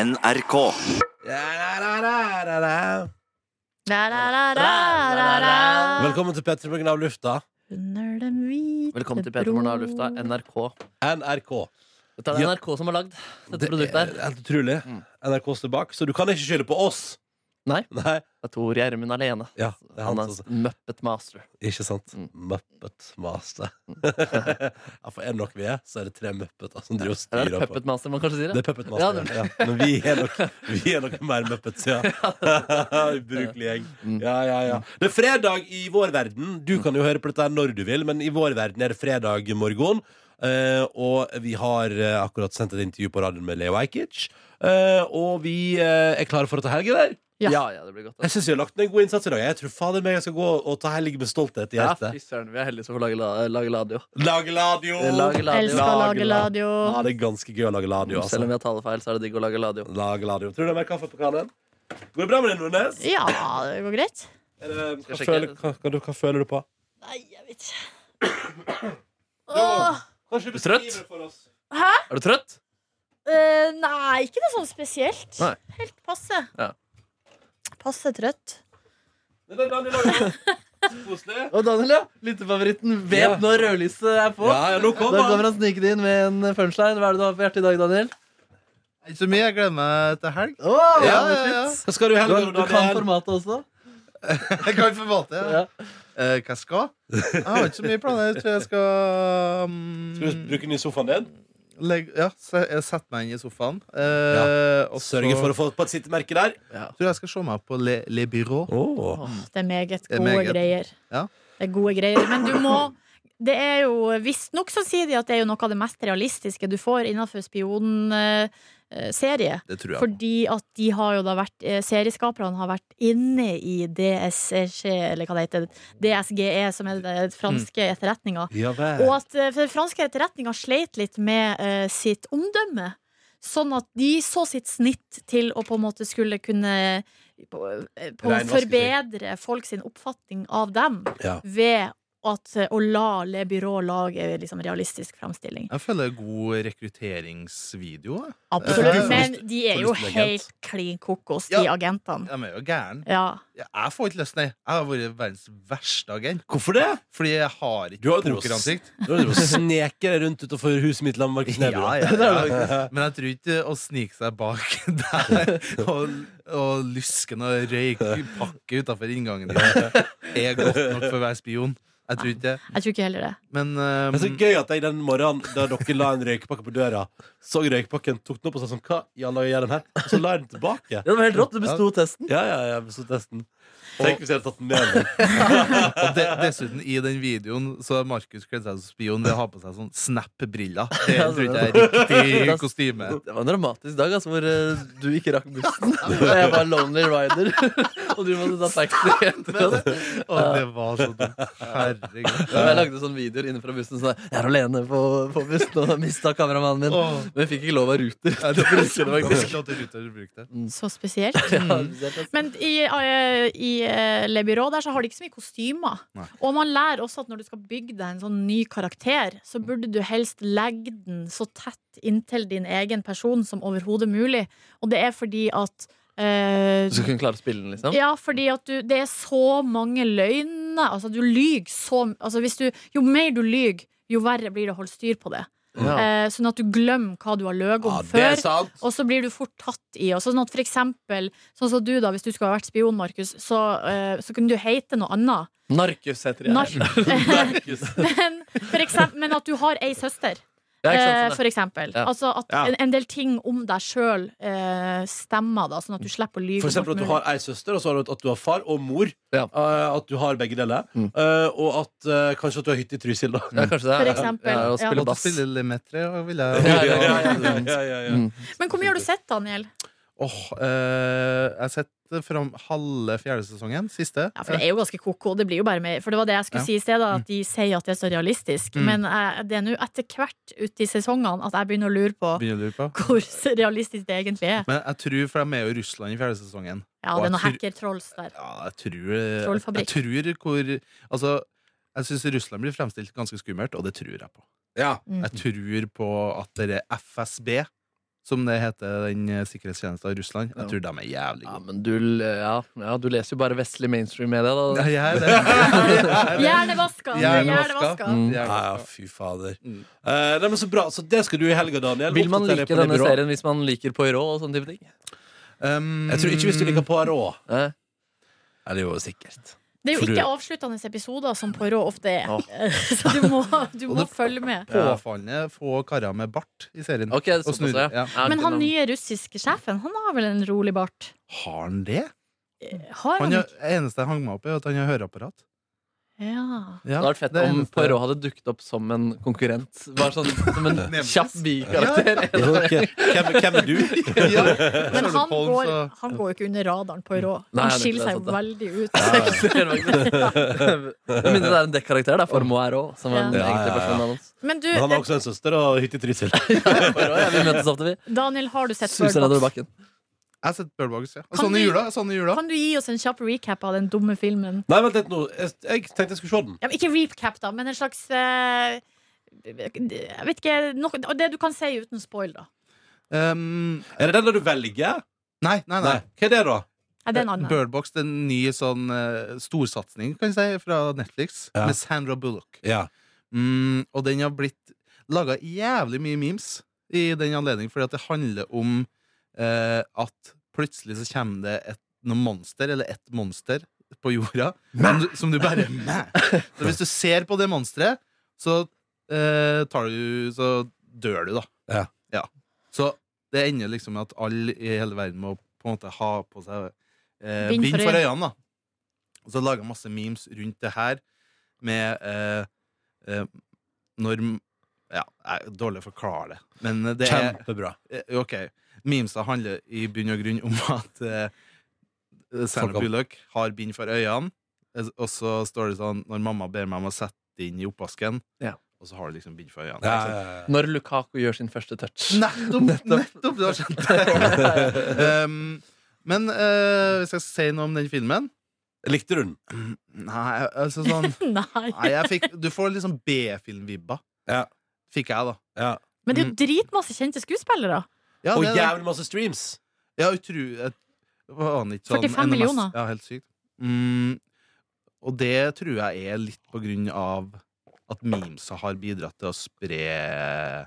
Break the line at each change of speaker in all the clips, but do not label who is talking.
NRK.
La, la, la, la, la, la.
Velkommen til P3 Morgen av lufta.
Under den hvite
Velkommen til Peter Morgen av lufta, NRK.
NRK.
Dette er
Ja.
NRK som har lagd dette
Det
produktet.
er
her
helt utrolig.
Mm.
NRK står bak, så du kan ikke skylde på oss.
Nei.
Nei.
Det er Tor Gjermund alene.
Ja, det er
Han
han
er
som
Muppet Master.
Ikke sant?
Mm.
Muppet Master. ja, for er det nok vi er, så er det tre muppeter som driver og
Eller er
styrer
det
på.
Puppet Master man kanskje
Det
sier? Det?
er Puppet Master. Ja, Men vi er nok, vi er nok mer muppets, ja. Ubrukelig gjeng.
Mm.
Ja, ja, ja. Det er fredag i vår verden. Du kan jo høre på dette her når du vil, men i vår verden er det fredag morgen. Eh, og vi har eh, akkurat sendt et intervju på radioen med Leo Ajkic. Eh, og vi eh, er klare for å ta helg, eller?
Ja. ja, det blir godt.
Jeg
ass.
syns vi har lagt ned en god innsats i dag. Jeg tror fader meg jeg skal gå og ta helg med stolthet i
Ja,
hjertet.
fy søren, vi er heldige som får lage, la- lage ladio. Eh,
Lage ladio!
Lage
Elsker
ladio.
å
Lage
lage
la-
radio.
Ja, det er ganske gøy å lage ladio, altså.
Selv om vi har talefeil, så er det digg å lage ladio.
Lage ladio. Tror du det er mer kaffe på kannen? Går det bra med deg, Nordnes?
Ja, det går greit.
Er det- Hva,
Skal jeg
føler-
sjekke?
hva, hva, hva føler du på?
Nei, jeg vet ikke. Åh,
Kanskje
du trøtt?
beskriver det for oss.
Er du trøtt?
eh, nei, ikke noe sånn spesielt.
Nei.
Helt passe.
Ja.
Passe trøtt.
Det er Daniel Lagerholm. Koselig.
Og Daniel, ja. Lyttefavoritten vet
Ja.
når rødlyset er på.
Ja, ja, nå
Da
kom
kommer
han.
han snikende inn med en punchline. Hva er det du har på hjertet i dag, Daniel?
Ikke så mye. Jeg gleder meg til helg.
Åh,
Ja,
det er
ja, ja.
fint.
Hva skal du i
Du,
helga,
du kan
Daniel?
formatet også.
Jeg kan forvalte ja.
Ja.
Eh, hva jeg skal? Jeg har ikke så mye planer. Jeg tror jeg skal
Skal du
um,
bruke den i sofaen din?
legge, ja, se, jeg setter meg inn i sofaen. Uh, Og så
Sørge for å få på et sittemerke der.
tror jeg skal se meg på Le, Le Byrå.
Oh.
Det er meget
Det er
gode
meget.
greier.
Ja.
Det er gode greier. Men du må Det er jo visstnok så sier de at det er jo noe av det mest realistiske du får innenfor spionserie.
Det tror jeg.
Fordi at de har jo da vært eh, Serieskaperne har vært inne i DSG Eller hva det heter DSGE, E, som er den franske etterretninga
Mm. Ja
Og
vel.
at eh, for den franske etterretninga sleit litt med eh, sitt omdømme Sånn at de så sitt snitt til å på en måte skulle kunne på, eh, på
Reinvaske seg.
forbedre folk sin oppfatning av dem
Ja.
ved at, eh, å la Le Byrå lage eh, liksom, realistisk fremstilling.
Jeg føler det er god rekrutteringsvideo. jeg.
Absolutt.
Eh,
Men de er jo
lyst til en agent.
helt klin kokos, de
Ja.
agentene.
De er jo gæren.
Ja.
Jeg jeg får ikke lyst, nei. Jeg har vært verdens verste agent.
Hvorfor det?
Fordi jeg har
Du har
ikke
jo drevet-
pokeransikt.
Du har drevet og sneket deg rundt utenfor huset mitt sammen med Markus Neby. da.
Ja, ja, ja. Men jeg tror ikke å snike seg bak der og, og luske noe røykpakke utafor inngangen din er godt nok for å være spion. Jeg tror ikke det.
Jeg tror ikke heller det.
Men um,
Det er så gøy at jeg den morgenen da dere la en røykepakke på døra, så røykepakken, tok den opp og sa sånn Hva i alle dager gjør den her? Og så la jeg den tilbake.
Ja, det var helt rått. Du besto testen.
Ja, ja, ja, så testen. Tenk hvis jeg hadde tatt den med meg.
og de, dessuten, i den videoen så har Markus kledd seg som spion ved å ha på seg sånn snap-briller. Det tror ikke jeg er riktig kostyme.
Det var en dramatisk dag altså, hvor eh, du ikke rakk bussen. Og jeg var lonely rider. Og du måtte ta taxi etter oss.
Og det var så dumt. Herregud.
Og jeg lagde sånne videoer inne fra bussen sånn Jeg er alene på, på bussen og mista kameramannen min.
Åh.
Men jeg fikk ikke lov av Ruter.
Ja, det var så vanskelig at du ikke har brukt det.
Så spesielt.
Ja, spesielt, altså.
Men i, eh, i eh, Le Byrå der så har de ikke så mye kostymer.
Nei.
Og man lærer også at når du skal bygge deg en sånn ny karakter, så burde du helst legge den så tett inntil din egen person som overhodet mulig. Og det er fordi at eh,
Så du kunne klare å spille den, liksom?
Ja, fordi at du, det er så mange løgner. Altså, du lyger så altså, hvis du, Jo mer du lyger, jo verre blir det å holde styr på det.
Ja. Ah,
Eh, sånn at du glemmer hva du har løyet om før.
sant.
Og så blir du fort tatt i. Og sånn at for eksempel, sånn som du da, hvis du skulle ha vært spion, Markus, så, eh, så kunne du hete noe annet.
Narkus heter jeg.
Nark- men, for eksempel, men at du har ei søster,
Ja, ikke
eh,
sant, sånn,
for eksempel.
Ja.
Altså at
Ja.
en, en del ting om deg sjøl eh, stemmer, da, sånn at du slipper å lyve.
For
om
eksempel at
alt
du
mulig.
har ei søster, og så har du at du har far og mor.
Ja.
Eh, at du har begge deler.
Mm.
Eh, og at eh, kanskje at du har hytte i Trysil, da.
ja, kanskje det.
For
Ja,
eksempel,
Ja,
ja.
å spille
Måtte
bass.
spille Lemetre, og ville
Ja, ja, ja.
ja, ja, ja.
Mm.
Men hvor mye har du sett, Daniel?
Åh, eh, jeg har sett fram halve fjerde sesongen, siste.
Ja, For det er jo ganske ko-ko. Det blir jo bare mer For det var det jeg skulle
Ja.
si i sted, da, at de sier at det er så realistisk.
Mm.
Men eh, det er nå etter hvert uti sesongene at jeg begynner å lure på
Eh, begynner å lure på.
hvor realistisk det egentlig er.
Men jeg tror, for de er jo i Russland i fjerde sesongen
Ja,
Og
det er
jeg
noen
tror-
hacker-trolls der.
Ja, jeg tror eh,
Trollfabrikk.
Jeg tror hvor Altså, jeg syns Russland blir fremstilt ganske skummelt, og det tror jeg på.
Ja.
Mm.
Jeg tror på at det er FSB som det heter den eh, sikkerhetstjenesten i Russland. Jeg tror de er jævlig
Ja,
gode.
men du, l- ja, ja, du leser jo bare vestlig mainstream-media, da.
Ja, jeg er det.
Hjernevaska!
Hjernevaska.
Hjernevaska.
Mm.
Jeg er
Ja,
det.
fy fader.
Mm.
Eh, nei, men så bra. Så det skal du i helga, Daniel.
Vil man
Oppdater
like
deg på det
denne
byrået.
serien hvis man liker Poirot og sånne type ting?
Um,
Jeg tror ikke hvis du liker Poirot.
Eh?
Ja, det er jo sikkert.
Det er jo
For du-
ikke avsluttende episoder, som Poirot ofte er.
Åh.
Så du må, du må
det-
følge med.
Påfallende få karer med bart i serien.
Ok, det er
Og
såpass,
snurre,
ja.
ja.
Er
Men
det
han
noen-
nye russiske sjefen, han har vel en rolig bart?
Har han det?
Eh, Har
Han
han
har,
ikke?
eneste jeg hang meg opp i, er at han har høreapparat.
Ja.
Ja,
Det hadde vært fett om
eneste-
Poirot hadde dukket opp som en konkurrent. Bare sånn som en
Nemesis.
kjapp bikarakter.
Ok. Hvem, hvem er du?
ja.
Men han
Sherlock Holmes
går,
og-
han går jo ikke under radaren, Poirot.
Nei,
Han
det er
skiller
ikke
seg
det,
jo veldig ut.
Det er helt faktisk- Jeg minner det er en dekkarakter, da, Formoe er òg, som er den
Ja.
egentlige
Ja, ja, ja.
personen hans.
Men du,
Men han har også en søster og hytte i Trysil.
Poirot, ja, vi møtes ofte, vi.
eh, Daniel, har du sett
Suser
Bird
nedover
Box?
bakken.
Jeg har sett Birdbogs, ja. Og
Kan
Sånn i
du-
jula. Sånn i jula.
Kan du gi oss en kjapp recap av den dumme filmen?
Nei, vent litt nå. Jeg, jeg tenkte jeg skulle se den.
Ja, men ikke recap, da, men en slags eh, Jeg vet ikke noe, og Det du kan si uten spoil, da.
Um,
Er det den der du velger?
nei, nei,
Nei.
nei.
Hva er det, da?
Nei, det er en annen.
Birdbox er en ny sånn eh, storsatsing, kan jeg si, fra Netflix,
Ja.
med Sandra Bullock.
Ja.
Mm, og den har blitt laga jævlig mye memes i den anledning, fordi at det handler om eh, at plutselig så kommer det et noe monster, eller ett monster, på jorda som du, som du bare Mæ! Så hvis du ser på det monsteret, så eh, tar du Så dør du, da.
Ja.
Så det ender liksom med at alle i hele verden må på en måte ha på seg eh,
Bind
bind
for
for øynene, da. Og så lager jeg masse memes rundt det her med eh, eh, når Ja, jeg er dårlig til å forklare det, men det er
Kjempebra.
Eh, Ok, memesa handler i bunn og grunn om at uh, Sandra
har-
Bullock har bind for øynene, eh, og så står det sånn når mamma ber meg om å sette det inn i oppvasken,
Ja.
og så har du liksom bind for øynene.
Ja,
Ikke sant?
ja, ja.
Når Lukaku gjør sin første touch.
Nettopp! Nettopp, du har skjønt det! um, men eh, hvis jeg skal si noe om den filmen
Likte du den?
Nei, altså sånn
Nei.
Nei, jeg fikk, du får liksom B-film-vibba.
Ja.
Fikk jeg, da.
Ja.
Men det er jo dritmasse kjente skuespillere.
Ja,
Og
det er det.
jævlig masse streams.
Ja, utru... jeg aner ikke sånn,
45
NMS.
millioner.
Ja, helt sykt. Mm, og det tror jeg er litt på grunn av at memesa har bidratt til å spre eh,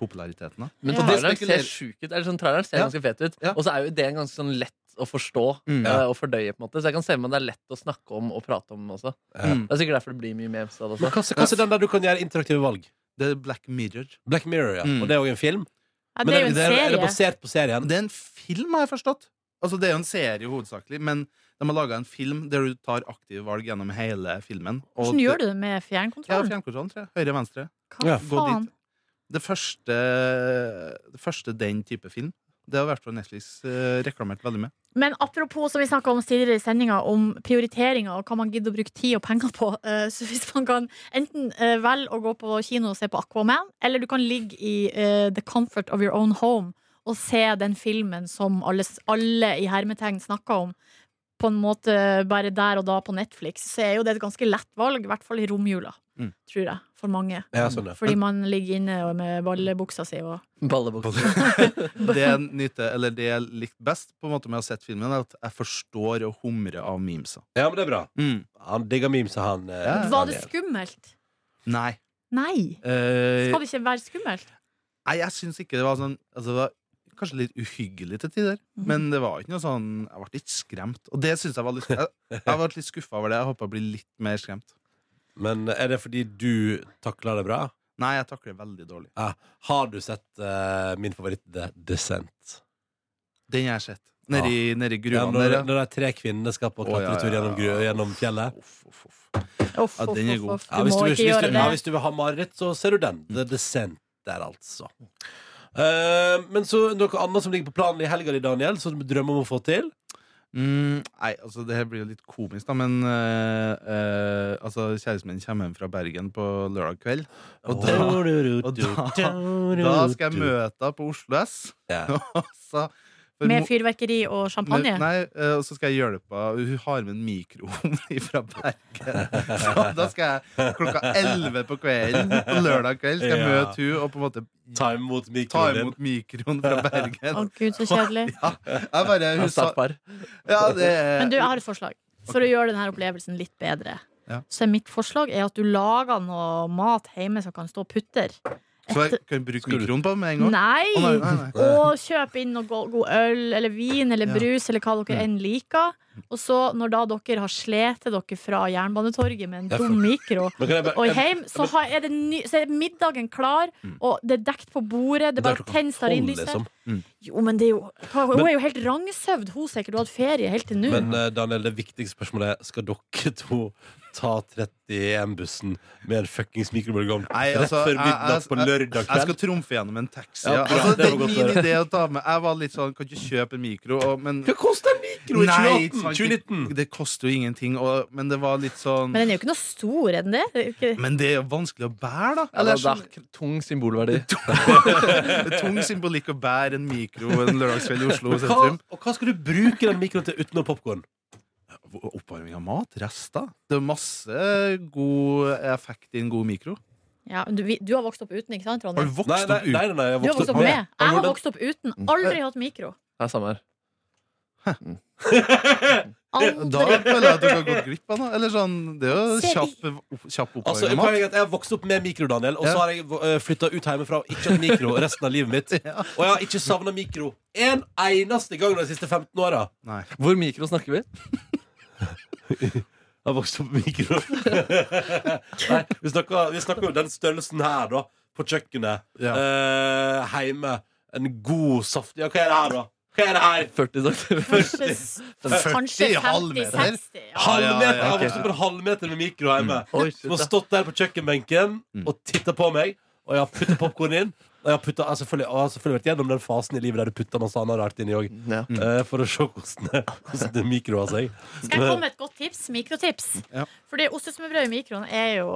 populariteten. da.
Men
Ja.
traileren
Og det
ser
spekulerer-
sjuk ut. Eller sånn, traileren ser
Ja.
ganske fet ut.
Ja.
Og så er jo ideen ganske sånn lett å forstå
Mm.
eh, og fordøye, på en måte. Så jeg kan se meg det er lett å snakke om og prate om også.
Ja.
Mm.
Det er sikkert derfor det blir mye memes av det også.
Hva er den der du kan gjøre interaktive valg?
Det er Black Mirror.
Black Mirror, ja.
Mm.
Og det er òg en film.
Ja,
Men
det er jo en
er det
serie.
basert på serien?
Det er en film, har jeg forstått. Altså, det er jo en serie hovedsakelig, men de har laga en film der du tar aktive valg gjennom hele filmen.
Hvordan gjør du det med
Ja,
fjernkontrollen?
fjernkontrollen, tror jeg. Høyre, venstre.
Ja,
Hva
Gå
faen?
dit. Det første, det første den type film. Det har i hvert fall Netflix eh, reklamert veldig med.
Men apropos som vi snakka om tidligere i sendinga, om prioriteringer og hva man gidder å bruke tid og penger på. eh, Så hvis man kan enten eh, velge å gå på kino og se på Aquaman, eller du kan ligge i eh, the comfort of your own home og se den filmen som alle, alle i hermetegn snakker om, på en måte bare der og da på Netflix, så er jo det et ganske lett valg, i hvert fall i romjula,
Mm.
tror jeg, for mange.
Ja, sånn, ja.
Fordi man ligger inne og med ballebuksa si og
Ballebukse.
Det jeg nyter, eller det jeg likte best på en måte med å ha sett filmen, er at jeg forstår og humrer av memesa.
ja, men det er bra.
Mm.
Han digger memes, han. eh,
Ja.
Var det
Daniel.
skummelt?
Nei.
Nei.
Eh,
Skal det ikke være skummelt?
nei, jeg syns ikke det var sånn altså, Det var kanskje litt uhyggelig til tider,
Mhm.
men det var ikke noe sånn Jeg ble litt skremt. Og det syns jeg var litt Jeg, jeg ble litt skuffa over det. Jeg håper jeg blir litt mer skremt.
Men er det fordi du takler det bra?
Nei, jeg takler det veldig dårlig.
Ja. Har du sett eh, min favoritt The Descent?
Den jeg har sett. Nedi, nedi
Ja,
gruva
når,
der, ja.
når de tre kvinnene skal på
Å, ja,
klatretur
ja, ja.
gjennom, gru- gjennom fjellet.
Uff, uff, uff.
Uff,
Ja,
uff,
den er
uff,
god.
uff. Du
Ja, hvis,
må
du, hvis,
ikke
hvis,
gjøre
du,
det.
ja, hvis du vil ha mareritt, så ser du den. The Descent der, altså. Eh, men så noe annet som ligger på planen i helga di, Daniel, som du drømmer om å få til?
Mm, nei, altså det her blir jo litt komisk da Men øh, øh, altså, kjæresten min kommer hjem fra Bergen på lørdag kveld Og da, og da, da skal jeg møte henne på Oslo S
Ja.
Og så For
Med
mo-
fyrverkeri og champagne?
Med- Nei, eh, og så skal jeg hjelpe henne. Hun har med en mikroovn fra Bergen. Så da skal jeg klokka 11 på kvelden på lørdag kveld skal jeg
Ja.
møte hun og på en måte
Ta imot
ta
mikroen din.
imot mikroen fra Bergen.
Å gud, så kjedelig.
Ja, jeg bare, hun sa,
Stakkar.
ja, det
Men du, jeg har et forslag. For å gjøre denne opplevelsen litt bedre.
Ja.
Så er mitt forslag er at du lager noe mat hjemme som kan stå og putter.
Så jeg kan bruke
Skulle-
mikroen på med en gang?
Nei!
Å, nei, nei, nei.
Og kjøp inn noe go- god øl eller vin eller
Ja.
brus eller hva dere enn liker. Og så, når da dere har sletet dere fra Jernbanetorget med en
Ja, for-
dum mikro
Men kan jeg
og
bare,
hjem, så, har, er det ny, så er middagen klar, og det er dekt på bordet. Det er bare tenn
Hold,
stearinlyset.
liksom.
Jo, men det er jo Hun er jo helt rangsøvd, hun sikkert. Hun har hatt ferie helt til nå.
Men eh, Daniel, det viktigste spørsmålet er Skal dere to ta 31-bussen med en fuckings mikrobølgeovn
Nei,
rett
altså,
før
jeg-
midnatt på
jeg-
lørdag
Jeg skal
kveld?
trumfe gjennom en taxi.
Ja,
Ja.
bra,
Altså,
det
det
var
er
godt å
min
høre.
idé å ta med. Jeg var litt sånn, kan ikke kjøpe en mikro, og, men
Hva koster en mikro i
Nei,
2018?
sant.
2019?
det koster jo ingenting. Og, men det var litt sånn
Men den er jo ikke noe stor, er den det? det? er jo ikke-
Men det er jo vanskelig å bære, da.
Ja,
Eller, sånn,
det er k- tung symbolverdi.
det er tung symbolikk å bære en mikro en lørdagskveld i Oslo
Hva,
sentrum.
og hva skal du bruke den mikroen til utenom popkorn?
Oppvarming av mat? Rester? Det er masse god effekt i en god mikro.
Ja, men du, vi- du har vokst opp uten, ikke sant,
Har du
Ronny?
vokst
Nei, nei,
opp
nei, nei,
ut?
nei, jeg
Du har vokst opp med. Jeg
Men
har
hvordan-
vokst opp uten. Aldri hatt mikro.
Det er samme her.
Da
Aldri.
føler jeg at du har gått glipp av noe. Eller sånn, det er jo
Ser
kjapp, kjapp
Altså,
oppvarming av mat.
poenget er at Jeg har vokst opp med mikro, Daniel, og så
Ja.
har jeg flytta ut hjemmefra og ikke hatt mikro resten av livet mitt.
Ja.
Og jeg har ikke savna mikro en eneste gang de siste 15 åra.
Nei.
Hvor mikro snakker vi?
Jeg har vokst opp med mikro. Nei, vi snakker, vi snakker jo den størrelsen her, da. På kjøkkenet.
Ja.
Eh, heime. En god, saftig Ja, hva er det her, da? Hva er det her?
40 cm.
Kanskje, s- kanskje
40 halvmeter.
50-60. Ja.
Ja, ja, ja,
Halvmeter! Jeg har
ok.
vokst opp med en halvmeter med mikro hjemme.
Oi, shit,
Som har
ja.
stått der på kjøkkenbenken
Mm.
og titta på meg, og jeg har putta popkorn inn. Og jeg har, puttet, jeg, har selvfølgelig, jeg har selvfølgelig vært gjennom den fasen i livet der du putta masse annet rart inni òg.
Ja.
eh, for å se hvordan det, hvordan det mikroa seg.
Skal jeg komme med et godt tips? Mikrotips.
Ja.
Fordi ostesmørbrød i mikroen er jo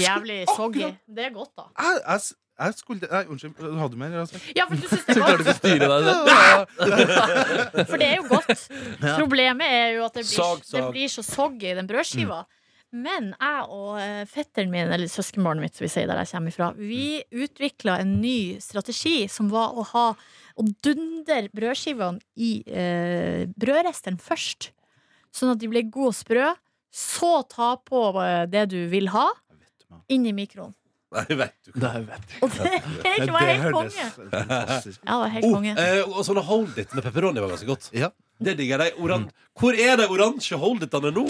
jævlig soggy. Det er godt, da.
Jeg, jeg, s- jeg skulle Nei, unnskyld. Hadde du mer? Altså?
Ja, for du syns det er
Klarer du ikke
godt.
å styre deg? selv?
For det er jo godt. Problemet er jo at det blir,
Sag, sag.
Det blir så soggy, den brødskiva.
Mm.
Men jeg og eh, fetteren min, eller søskenbarnet mitt, som vi sier der jeg kommer fra, vi
Mm.
utvikla en ny strategi som var å ha Å dundre brødskivene i eh, brødresteren først. Sånn at de ble gode og sprø. Så ta på eh, det du vil ha, inn i mikroen.
Nei, vet du hva.
Nei, vet du.
Og det, det var helt konge. Ja,
fantastisk
det var helt
Oh,
konge.
eh, og sånne hold it med pepperoni var ganske godt.
Ja.
Det digger jeg. De oran- Hvor er de oransje hold it-ene nå?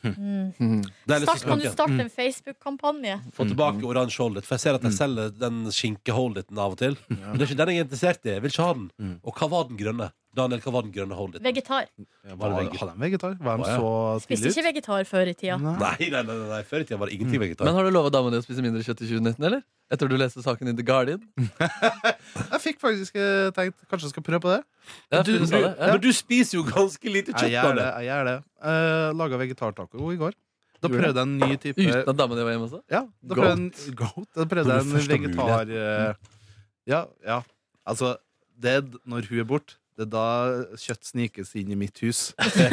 Mm.
Det sånn har jeg lyst til
Start,
å
kan du
smake.
starte en Facebook-kampanje?
Få tilbake oransje hold it, for jeg ser
Mm.
at jeg selger den skinke-hold iten av og til. Men det er ikke den jeg er interessert i. Jeg vil ikke ha den.
Mm.
Og hva var den grønne? Daniel, hva var den grønne hold iten?
Vegetar.
Var det vegetar? Hadde de vegetar? Var de så
Spiste
stille ut?
ikke vegetar før i tida.
Nei.
Nei, nei, nei, nei, før i tida var det ingenting vegetar.
Men har du lovet dama di å spise mindre kjøtt i 2019, eller? Etter du leste saken i The Guardian?
Jeg fikk faktisk eh, tenkt Kanskje jeg skal prøve på det?
Ja,
Du-
du, du sa
du-
det. Ja.
Men du spiser jo ganske lite
Jeg
kjøtt,
gjør det.
Daniel.
Jeg gjør det. Eh, Laga vegetartaco i går. Da
Gjorde
prøvde jeg en ny type
Uten at dama di var hjemme også?
Ja, da prøvde jeg en, goat. Da prøvde jeg
Når du
en
først har
vegetar eh, Ja, ja. Altså, det er d- når hun er borte. Det er da kjøtt snikes inn i mitt hus. Det, det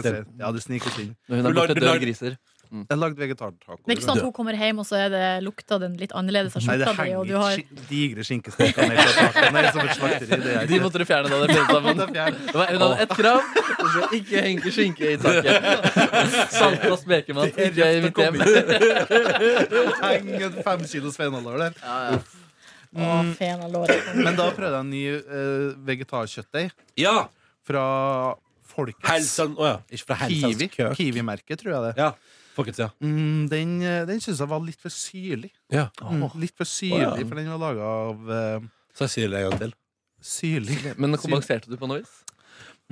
snikes
jeg si. Ja, det snikes inn.
Hun
Du
er borte
lagde- du
død
lagde-
griser.
Jeg lagde vegetartaco.
Det er ikke sånn at hun kommer hjem, og så er det lukta den litt annerledes av
Nei, det
skjorta di, og
henger
du har
skin- digre skinkesteker ned fra taket. Nei, som et slakteri. Det er
De
ikke-
måtte du fjerne da dere prøvde sammen.
Det er fjern.
Det var- Hun hadde ett krav. Du skal ikke henge skinke i taket. Salt og spekemat.
Det er
Ikke i
røft å
mitt
komme
hjem.
Heng en fem kilos fenalår der. Mm.
Ja, ja.
Å, fena låret.
Mm.
Men da prøvde jeg en ny eh, vegetarkjøttdeig
Ja!
fra Folkets
Helsan Å ja. Ikke fra Helsans
Kiwi.
kø.
Kiwi-merket, tror jeg det.
Ja. Folkets, ja.
Mm, den eh, den syns jeg var litt for syrlig.
ja.
Mm, litt for syrlig,
Å, ja.
for den var laga av eh,
Så jeg sier det en gang til.
Syrlig.
Men kompenserte du på noe vis?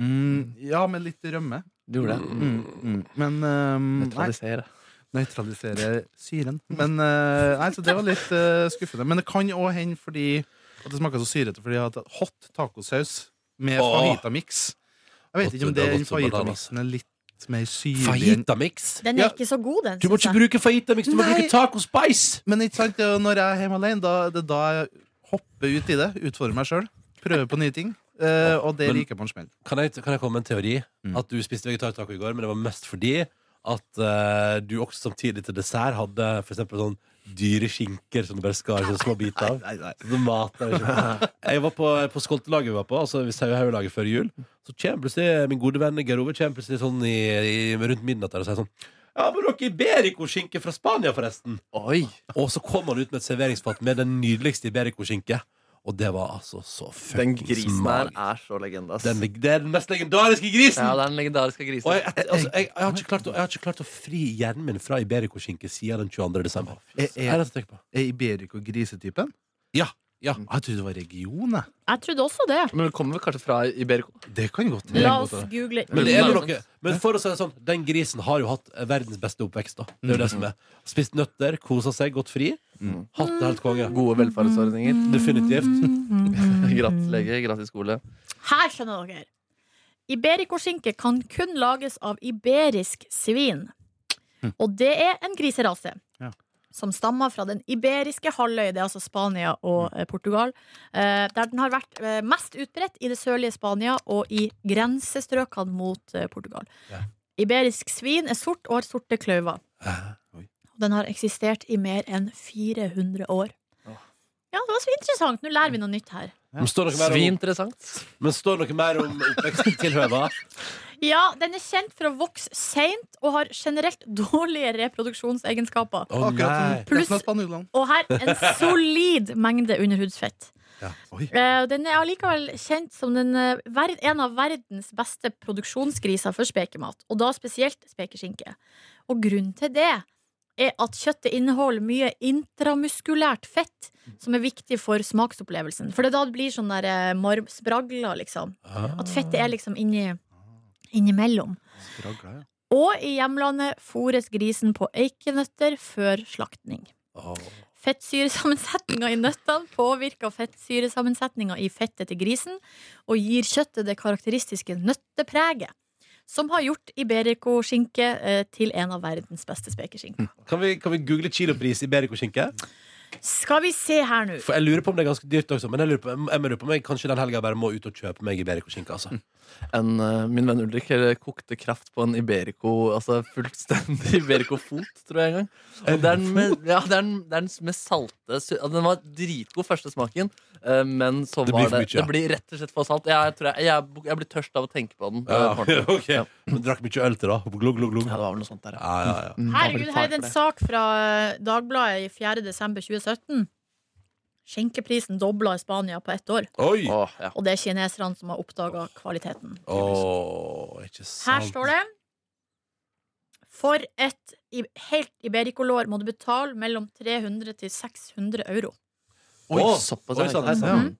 Mm, ja, med litt rømme.
Du gjorde det.
Mm, mm. Men eh, nei,
Neutralisere.
nøytralisere syren. Men eh, nei, så det var litt eh, skuffende. Men det kan òg hende fordi at det smaker så syrete fordi jeg har tatt hot tacosaus med
Åh.
fajitamix. Jeg vet
Godt,
ikke om
det
det
er
den
godt med bananas.
fajitamixen er litt mer syrlig enn
Fajitamix.
Den
Ja.
er ikke så god, den.
Du må
synes
ikke
jeg.
bruke fajitamix, du må
Nei.
bruke taco spice!
Men ikke sant, det er jo når jeg er hjemme alene, da, det er da jeg hopper ut i det. Utfordrer meg sjøl. Prøver på nye ting. eh, og det
Men-
ryker på en smell.
Kan jeg, kan jeg komme med en teori?
Mm.
At du spiste vegetartaco i går, men det var mest fordi at eh, du også samtidig til dessert hadde for eksempel sånn dyre skinker som du bare skar i sånne små biter av.
Nei, nei.
Så mat er jo ikke- Jeg var på, på skoltelaget vi var på, altså vi sauehauglaget før jul. Så kommer plutselig min gode venn Geir Ove kommer plutselig sånn i, i, rundt midnatt der og sier sånn Ja, men dere Iberico-skinke fra Spania, forresten.
Oi!
Og så kom han ut med et serveringsfat med den nydeligste Iberico-skinke. Og det var altså så
Den
fuckings
grisen her
magisk.
er så legende, ass.
Den, leg- det er den mest legendariske grisen!
Ja, det er den legendariske
Og jeg,
grisen.
et, altså, jeg, jeg, har ikke klart å, jeg har ikke klart å fri hjernen min fra Iberico-skinke siden den 22. desember.
Er,
Jeg
er,
har tenkt på.
er Iberico grisetypen? Mm.
Ja, ja.
Jeg trodde det var region, jeg.
Jeg trodde også det.
Men det kommer vel kanskje fra Iberico?
Det kan godt hende.
La oss google
Men, det er jo
Nei,
noe, men for å si det sånn, den grisen har jo hatt verdens beste oppvekst. da Det er jo det som er Spist nøtter, kosa seg, gått fri.
Mm.
Hatt det helt konge.
Gode velferdsordninger.
Definitivt.
Mm.
Gratis lege, gratis skole.
Her skjønner dere. Iberikoskinke kan kun lages av iberisk svin. Og det er en griserase.
Ja.
Som stammer fra den iberiske halvøy, det er altså Spania og eh, Portugal. eh, Der den har vært eh, mest utbredt i det sørlige Spania og i grensestrøkene mot eh, Portugal.
Ja.
Iberisk svin er sort og har sorte kløyver. Den har eksistert i mer enn 400 år. Ja, det var så interessant. Nå lærer vi noe nytt her.
Men står det noe mer om,
Svinteressant.
men står det noe mer om oppveksten til høva?
Ja, den er kjent for å vokse seint og har generelt dårlige reproduksjonsegenskaper.
Å nei.
Akkurat som resten av spanjolene.
Og her en solid mengde underhudsfett.
Ja.
Oi.
Eh, Den er allikevel kjent som den, eh, ver- en av verdens beste produksjonsgriser for spekemat, og da spesielt spekeskinke. Og grunnen til det er at kjøttet inneholder mye intramuskulært fett, som er viktig for smaksopplevelsen. For det er da det blir sånn der eh, marm- spragler, liksom.
Ah.
At fettet er liksom inni, innimellom.
Spragla, ja.
Og i hjemlandet fôres grisen på eikenøtter før slaktning.
Å.
Fettsyresammensetninga i nøttene påvirker fettsyresammensetninga i fettet til grisen og gir kjøttet det karakteristiske nøttepreget, som har gjort iberikoskinke eh, til en av verdens beste spekeskinker.
Kan, vi, kan vi google kilopris Iberico-skinke?
Skal vi se her nå.
For jeg lurer på om det er ganske dyrt også. Men jeg lurer på, jeg, lurer på om jeg kanskje den helga bare må ut og kjøpe meg Iberico-skinke. Altså.
En, eh, min venn Ulrik eh, kokte kraft på en Iberico Altså fullstendig Iberico-fot, tror jeg en gang. Og det er den med, ja, det er den, det er den mest salte sy- altså, Den var dritgod første smaken, eh, men så
Det
var
blir for
det
mye, ja.
Det blir rett og slett for salt. Jeg, tror jeg, jeg, jeg blir tørst av å tenke på den. eh,
Ja,
morgenen.
ok.
Ja.
Men drakk mye øl til, da. Glugg, glugg, glugg.
Ja, det var vel noe sånt der, ja.
Ja, ja, ja.
Mm, det var
Herregud,
vel
her
far
er det
for
en
det.
sak fra eh, Dagbladet i 4. desember 2017. Skjenkeprisen dobla i Spania på ett år,
Oi!
Åh, ja.
og det er kineserne som har oppdaga kvaliteten.
Åh, ikke
Her
Sånn.
sant.
står det For et i- helt ibericolår må du betale mellom 300 til 600 euro.
Oi,
Åh,
såpass,
oi, sånn,
ja,
sant,
ikke
hei,
sant?
Mm.
sant.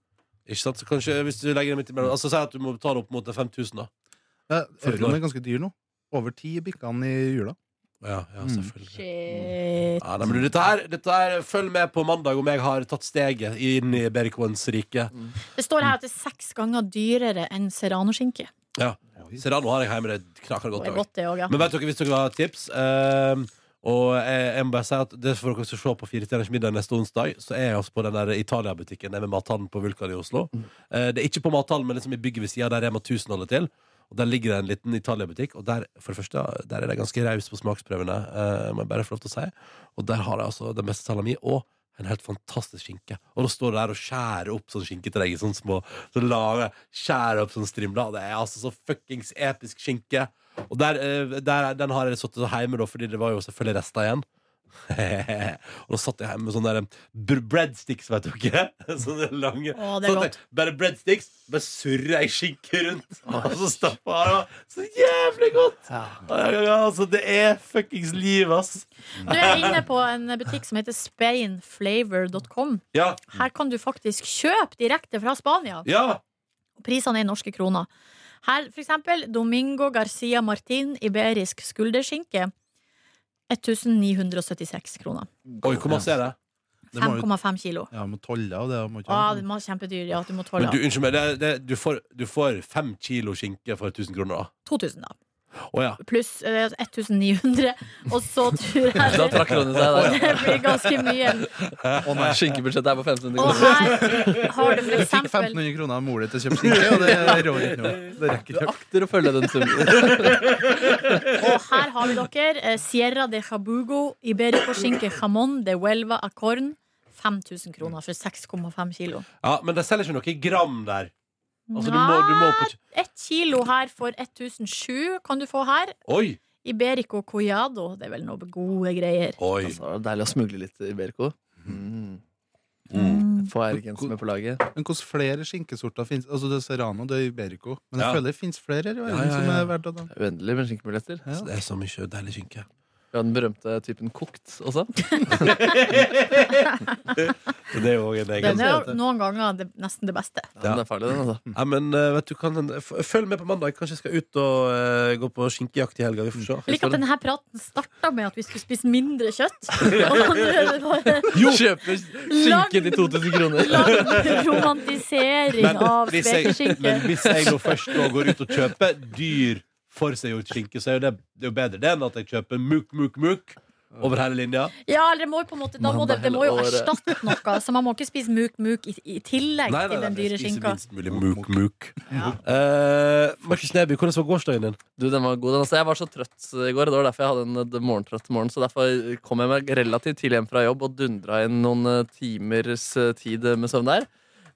Ikke sant, så kanskje hvis du legger det midt imellom Altså, Si at du må betale opp mot en 5000, da.
Ja,
For
Euroen er ganske dyr nå. Over ti bikker han i jula.
Ja, ja
Mm.
selvfølgelig.
Shit.
Ja, nei, men du, dette her, dette her, Følg med på mandag om jeg har tatt steget inn i Berikoens rike.
Det står her at det er seks ganger dyrere enn serranoskinke.
Serrano har jeg hjemme. Det knaker
Det
godt.
er
også.
godt, det òg, ja.
Men vet dere, hvis dere har tips eh, Og jeg, jeg må bare si at det får dere også se på Firetjeners middag neste onsdag. Så er jeg altså på den der Italia-butikken nede ved mathallen på Vulkan i Oslo. Eh, det er ikke på mathallen, men liksom i bygget ved sida der Rema 1000 holder til. Og Der ligger det en liten Italia-butikk, og der for det første, der er de ganske raus på smaksprøvene. eh, må jeg bare få lov til å si Og der har de altså den beste salami og en helt fantastisk skinke. Og da står du der og skjærer opp sånn skinke til deg i sånne små så lave, skjærer opp sånn strimler. Det er altså så fuckings episk skinke. Og der, eh, der, den har jeg sittet hjemme, da, fordi det var jo selvfølgelig rester igjen. og da satt jeg hjemme med sånne der, br- breadsticks, vet dere. sånne lange
Å, det er
sånn at jeg- Bare breadsticks, bare surrer jeg skinke rundt. Og så stapper jeg av. Så jævlig godt! Ja, ja, ja, altså, det er fuckings liv, ass.
Nå er jeg inne på en butikk som heter spainflavor.com.
Ja,
Her kan du faktisk kjøpe direkte fra Spania.
ja.
Prisene er i norske kroner. Her for eksempel Domingo Garcia Martin iberisk skulderskinke. 1976 kroner.
Oi, hvor masse er det?
Det må jo-
5,5 kilo.
Ja, må tolle av det. Må ikke
Ah, det var kjempedyr. Ja, du må
Men
tåle
du, unnskyld meg, det, det, du, får, du får fem kilo skinke for 1000 kroner, da.
2000, da.
Å ja.
pluss eh, 1900, og så tror
Da
jeg
trakk Ronny seg der.
det blir ganske mye.
Skinkebudsjettet er på 1500
Og
kroner.
her har du for
Jeg fikk
eksempel
1500 kroner av mor di til å kjøpe skinke, og det rår ikke noe. Det rekker
Du
ikke.
akter å følge den summen.
Og her har vi dere eh, Sierra de Jabugo, Iberico-skinke jamón de Huelva a corn. 5000 kroner for 6,5 kilo.
ja, Men de selger ikke noe gram der. Altså, du må,
Nja,
du må på kjø-
Ett kilo her for 1007 kan du få her.
Oi!
Iberico collado. Det er vel noe gode greier.
Oi.
Altså, deilig å smugle litt Iberico. Mm. Få Eirik Jensen med på laget.
Men hvordan flere skinkesorter finnes Altså, det er Serrano, det er Iberico. Men jeg
Ja.
føler det finnes flere i verden
Ja, ja,
som
ja.
er verdt å ta.
Uendelig med skinkemuligheter.
Ja.
Så Det er så mye deilig skinke.
Vi har den berømte typen kokt også.
Så Det er jo også en
Den
egen
er jo noen ganger det, nesten det beste.
Ja.
Den er farlig, den, altså.
ja, men, eh, vet du, kan, f- Følg med på mandag. Kanskje jeg skal ut og eh, gå på skinkejakt i helga. Vi får se.
Jeg liker at denne praten starta med at vi skulle spise mindre kjøtt. Og nå er det bare
Kjøper skinke til 2000 kroner.
lang romantisering av
hvis jeg,
spekeskinke.
men hvis jeg nå først nå går ut og kjøper dyr forseggjort skinke, så er jo det, det er jo bedre det enn at jeg kjøper muk, muk, muk over hele linja.
Ja, eller det må jo på en måte da må det, det må jo erstatte noe, så man må ikke spise muk-muk i, i
Nei,
tillegg
nei,
til
nei,
den
jeg
dyre
spiser
skinka.
minst mulig muk, muk.
Ja.
Eh, Markus Neby, hvordan var gårsdagen din?
Du, den var god. Den. Altså, jeg var så trøtt i går. Det var derfor jeg hadde en eh, morgentrøtt morgen. Så derfor kom jeg meg relativt tidlig hjem fra jobb og dundra inn noen eh, timers eh, tid med søvn der.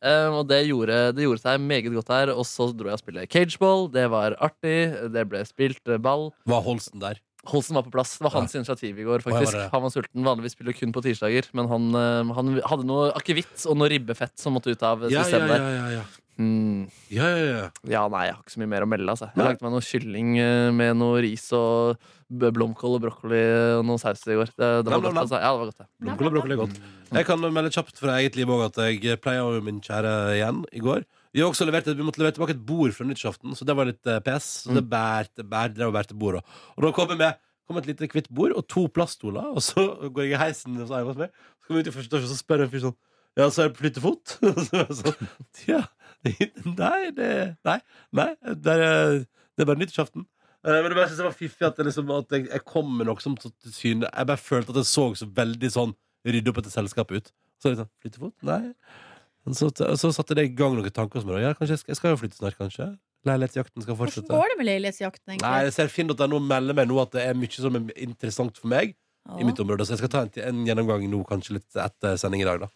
Eh, og det gjorde, det gjorde seg meget godt her. Og så dro jeg og spilte cageball. Det var artig. Det ble spilt eh, ball.
Var Holsten der?
Holsen var på plass. Det var hans initiativ i går.
ja, var
faktisk
det?
Han var sulten. Vanligvis spiller kun på tirsdager, men han, eh, han hadde noe akevitt og noe ribbefett som måtte ut av
Ja, ja,
systemet
ja.
der.
ja, ja.
Mm.
ja, ja, ja.
Ja, nei, jeg har ikke så mye mer å melde. Altså. Jeg lagde meg noe kylling eh, med noe ris og b- blomkål og brokkoli og noe saus i går. Det, det
Blam,
var
blam,
godt, altså. Ja, det var godt, det.
Blomkål og brokkoli er godt. Jeg kan melde kjapt fra eget liv også at jeg pleia jo min kjære igjen i går. Vi, har også levert, vi måtte levere tilbake et bord fra nyttårsaften, så det var litt eh, pes. Så det bærte, bærte, drev og bærte bordet. Og da kom jeg med kom et lite hvitt bord og to plaststoler, og så går jeg i heisen hos Eivind hos meg, så kommer jeg ut i første etasje, og så spør en fyr sånn Ja, så er det flyttefot? Og så er jeg sånn Tja, nei, det Nei, nei det er, det er bare nyttårsaften. Eh, Men det bare synes jeg var fiffig at, det liksom, at jeg, jeg kom med noe som så til syne Jeg bare følte at jeg så så veldig sånn rydde opp etter selskapet ut. Så litt sånn flyttefot? Nei. Men Så, så satte det i gang noen tanker hos meg. da. Ja, kanskje jeg skal, jeg skal jo flytte snart, kanskje. Leilighetsjakten skal
Hvordan
fortsette.
går det med leilighetsjakten,
Nei,
egentlig?
jeg ser Finn.no melder meg nå at det er mye som er interessant for meg i mitt område, så jeg skal ta en, en gjennomgang nå, kanskje litt etter sending i dag, da.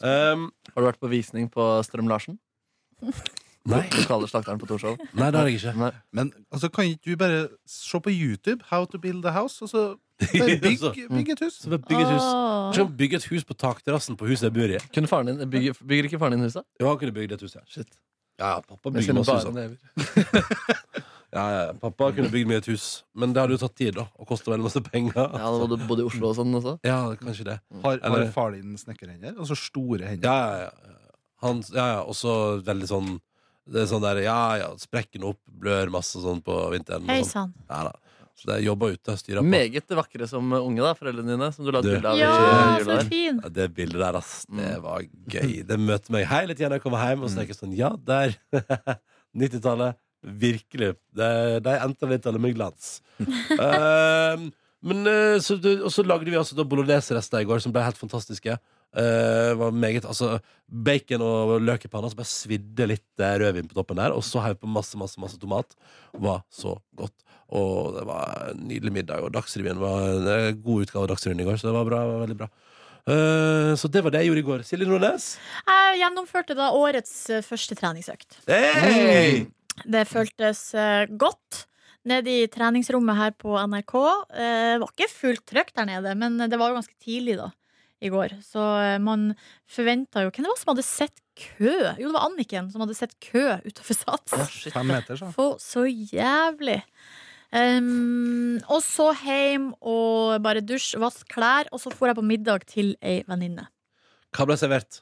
Um,
Har du vært på visning på Strøm-Larsen?
nei,
Lokale slakteren på Torshov?
nei, det har jeg ikke.
Nei.
Men altså, kan ikke du bare se på YouTube How to build a house, og så bare bygg, bygg et hus?
Så vi bygger et hus. Kanskje vi bygger et hus på takterrassen på huset jeg bor i.
Kunne faren din, bygger, bygger ikke faren din huset?
Jo, han kunne bygd et hus, ja.
Shit.
Ja, pappa bygger
Jeg kjenner
masse
bare
hus. han.
never.
Ja, ja, ja. Pappa kunne bygd meg et hus, men det hadde jo tatt tid, da. Og kosta veldig masse penger.
Ja, da bodde bodde i Oslo og sånn også.
Ja, kanskje det.
Har, har
Eller-
far din snekkerhender? Altså store hender?
Ja, ja, ja. Han, ja, ja. Og så veldig sånn det er sånn der, ja, ja, Sprekken opp, blør masse sånn på vinteren. og
Hei
sånn.
sann.
Ja, da. Så det er jobba ute, styra på.
Meget vakre som unge, da, foreldrene dine. Som du la et
Du.
bilde av i
Ja, altså,
eh,
så
jula der.
fin!
Ja, det bildet der, ass. Det var gøy. Det møter meg hele tida når jeg kommer hjem og så tenker jeg sånn Ja, der. 90-tallet. Virkelig. De de endte 90-tallet med glans. Ehm, men eh, så, du- Og så lagde vi altså da bolognese-rester i går som ble helt fantastiske. Eh, var meget, altså Bacon og løk i panna, så bare svidde litt eh, rødvin på toppen der. Og så heiv på masse masse, masse tomat. Var så godt. Og det var en nydelig middag. Og Dagsrevyen var en eh, god utgave av Dagsrevyen i går, så det var bra, det var veldig bra. Eh, så det var det jeg gjorde i går. Silje Nordnes.
Jeg gjennomførte da årets eh, første treningsøkt.
Hey!
Det føltes eh, godt. Nede i treningsrommet her på NRK. Eh, var ikke fullt trøkk der nede, men det var jo ganske tidlig da i går. Så eh, man forventa jo Hvem det var som hadde sett kø? Jo, det var Anniken som hadde sett kø utafor Sats.
Ja, Fem meter, sa han.
For så jævlig. Ehm, og så hjem og bare dusj, vask klær, og så for jeg på middag til ei venninne.
Hva ble servert?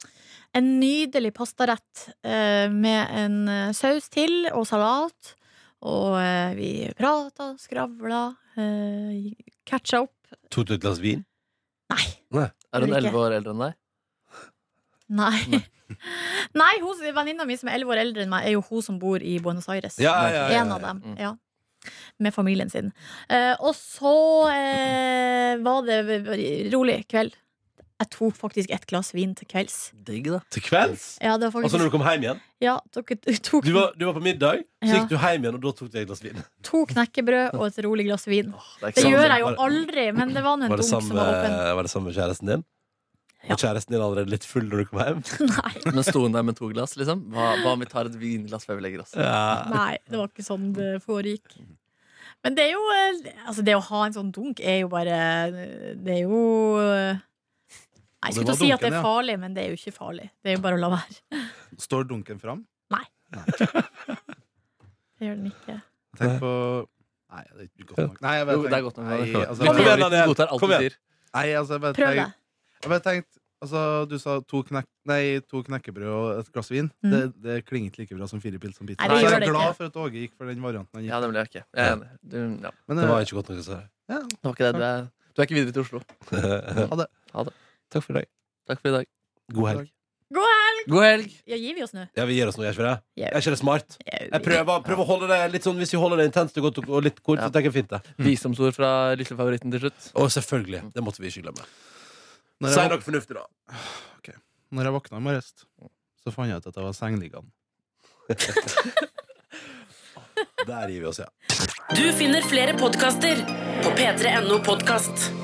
En nydelig pastarett eh, med en eh, saus til og salat. Og eh, vi prata, skravla, eh, catcha opp.
Tok du et glass vin?
Nei.
Er hun
Ulrikke.
11 år eldre enn deg?
Nei. Nei, hun- venninna mi som er elleve år eldre enn meg, er jo hun som bor i Buenos Aires.
Ja, ja, ja, ja.
En av dem.
Mm.
Ja. med familien sin. Eh, og så eh, var det rolig kveld. Jeg tok faktisk et glass vin til kvelds.
Digg, da.
Til kvelds?
Ja, det var faktisk,
Altså når du kom hjem igjen?
ja, dere tok,
Du var, du var på middag, så
Ja.
gikk du hjem igjen, og da tok du et glass vin.
to knekkebrød og et rolig glass vin.
Det er
Det
ikke sant.
gjør jeg jo
Var det-
aldri, men det var nå en
Var det
dunk som
samme,
var åpen.
var det samme kjæresten din?
Ja.
Og kjæresten din allerede litt full når du kom hjem?
Nei,
Men sto hun der med to glass, liksom? Hva, hva om vi tar et vinglass før vi legger oss?
Ja.
nei, det var ikke sånn det foregikk. Men det er jo eh, Altså, det å ha en sånn dunk er jo bare Det er jo eh, Nei, jeg
Og det
skulle til å
var
si at det
dunken,
er
ja.
farlig, men det er jo ikke farlig. Det er jo bare å la være.
Står dunken fram?
Det gjør den ikke.
Tenk på Nei, det er ikke godt nok. Nei, jeg bare
Jo, det er
tenk-
godt nok.
Nei,
det er klart.
altså,
Kom
jeg
igjen,
bare-
Daniel.
Vi godtar alt
Kom
du
igjen.
sier.
Nei, altså, jeg bare
Prøv
tenk-
det.
Jeg bare tenkte Altså, du sa to, knek nei, to knekkebrød og et glass vin.
Mm.
Det, det klinger ikke like bra som fire pils og pizza.
Nei,
det
Så
gjør
jeg
det
er glad
ikke.
for at Åge gikk for den varianten han gikk.
Ja, nemlig. ok. Jeg er enig. Du, ja.
Men,
Det
eh,
var ikke godt nok, altså.
ja,
Det var ikke det. Du er, du er ikke videre til Oslo.
ha det.
Takk for i dag.
Takk for i dag.
God helg.
God helg!
Ja, gir vi oss nå?
Ja, vi gir oss nå, gjør vi ikke det?
Gjør vi.
Er ikke det smart? Jeg prøver, prøver å holde det litt sånn Hvis vi holder det intenst og godt og og litt kort, så
Ja.
tenker jeg fint det.
Visdomsord fra lyttefavoritten til slutt.
Og selvfølgelig. Det måtte vi ikke glemme.
Når
Si
jeg,
noe fornuftig, da.
våk- når jeg våkna i morges, så fant jeg ut at jeg var sengeliggende.
Der gir vi oss, ja.
Du finner flere podkaster på p3.no podkast.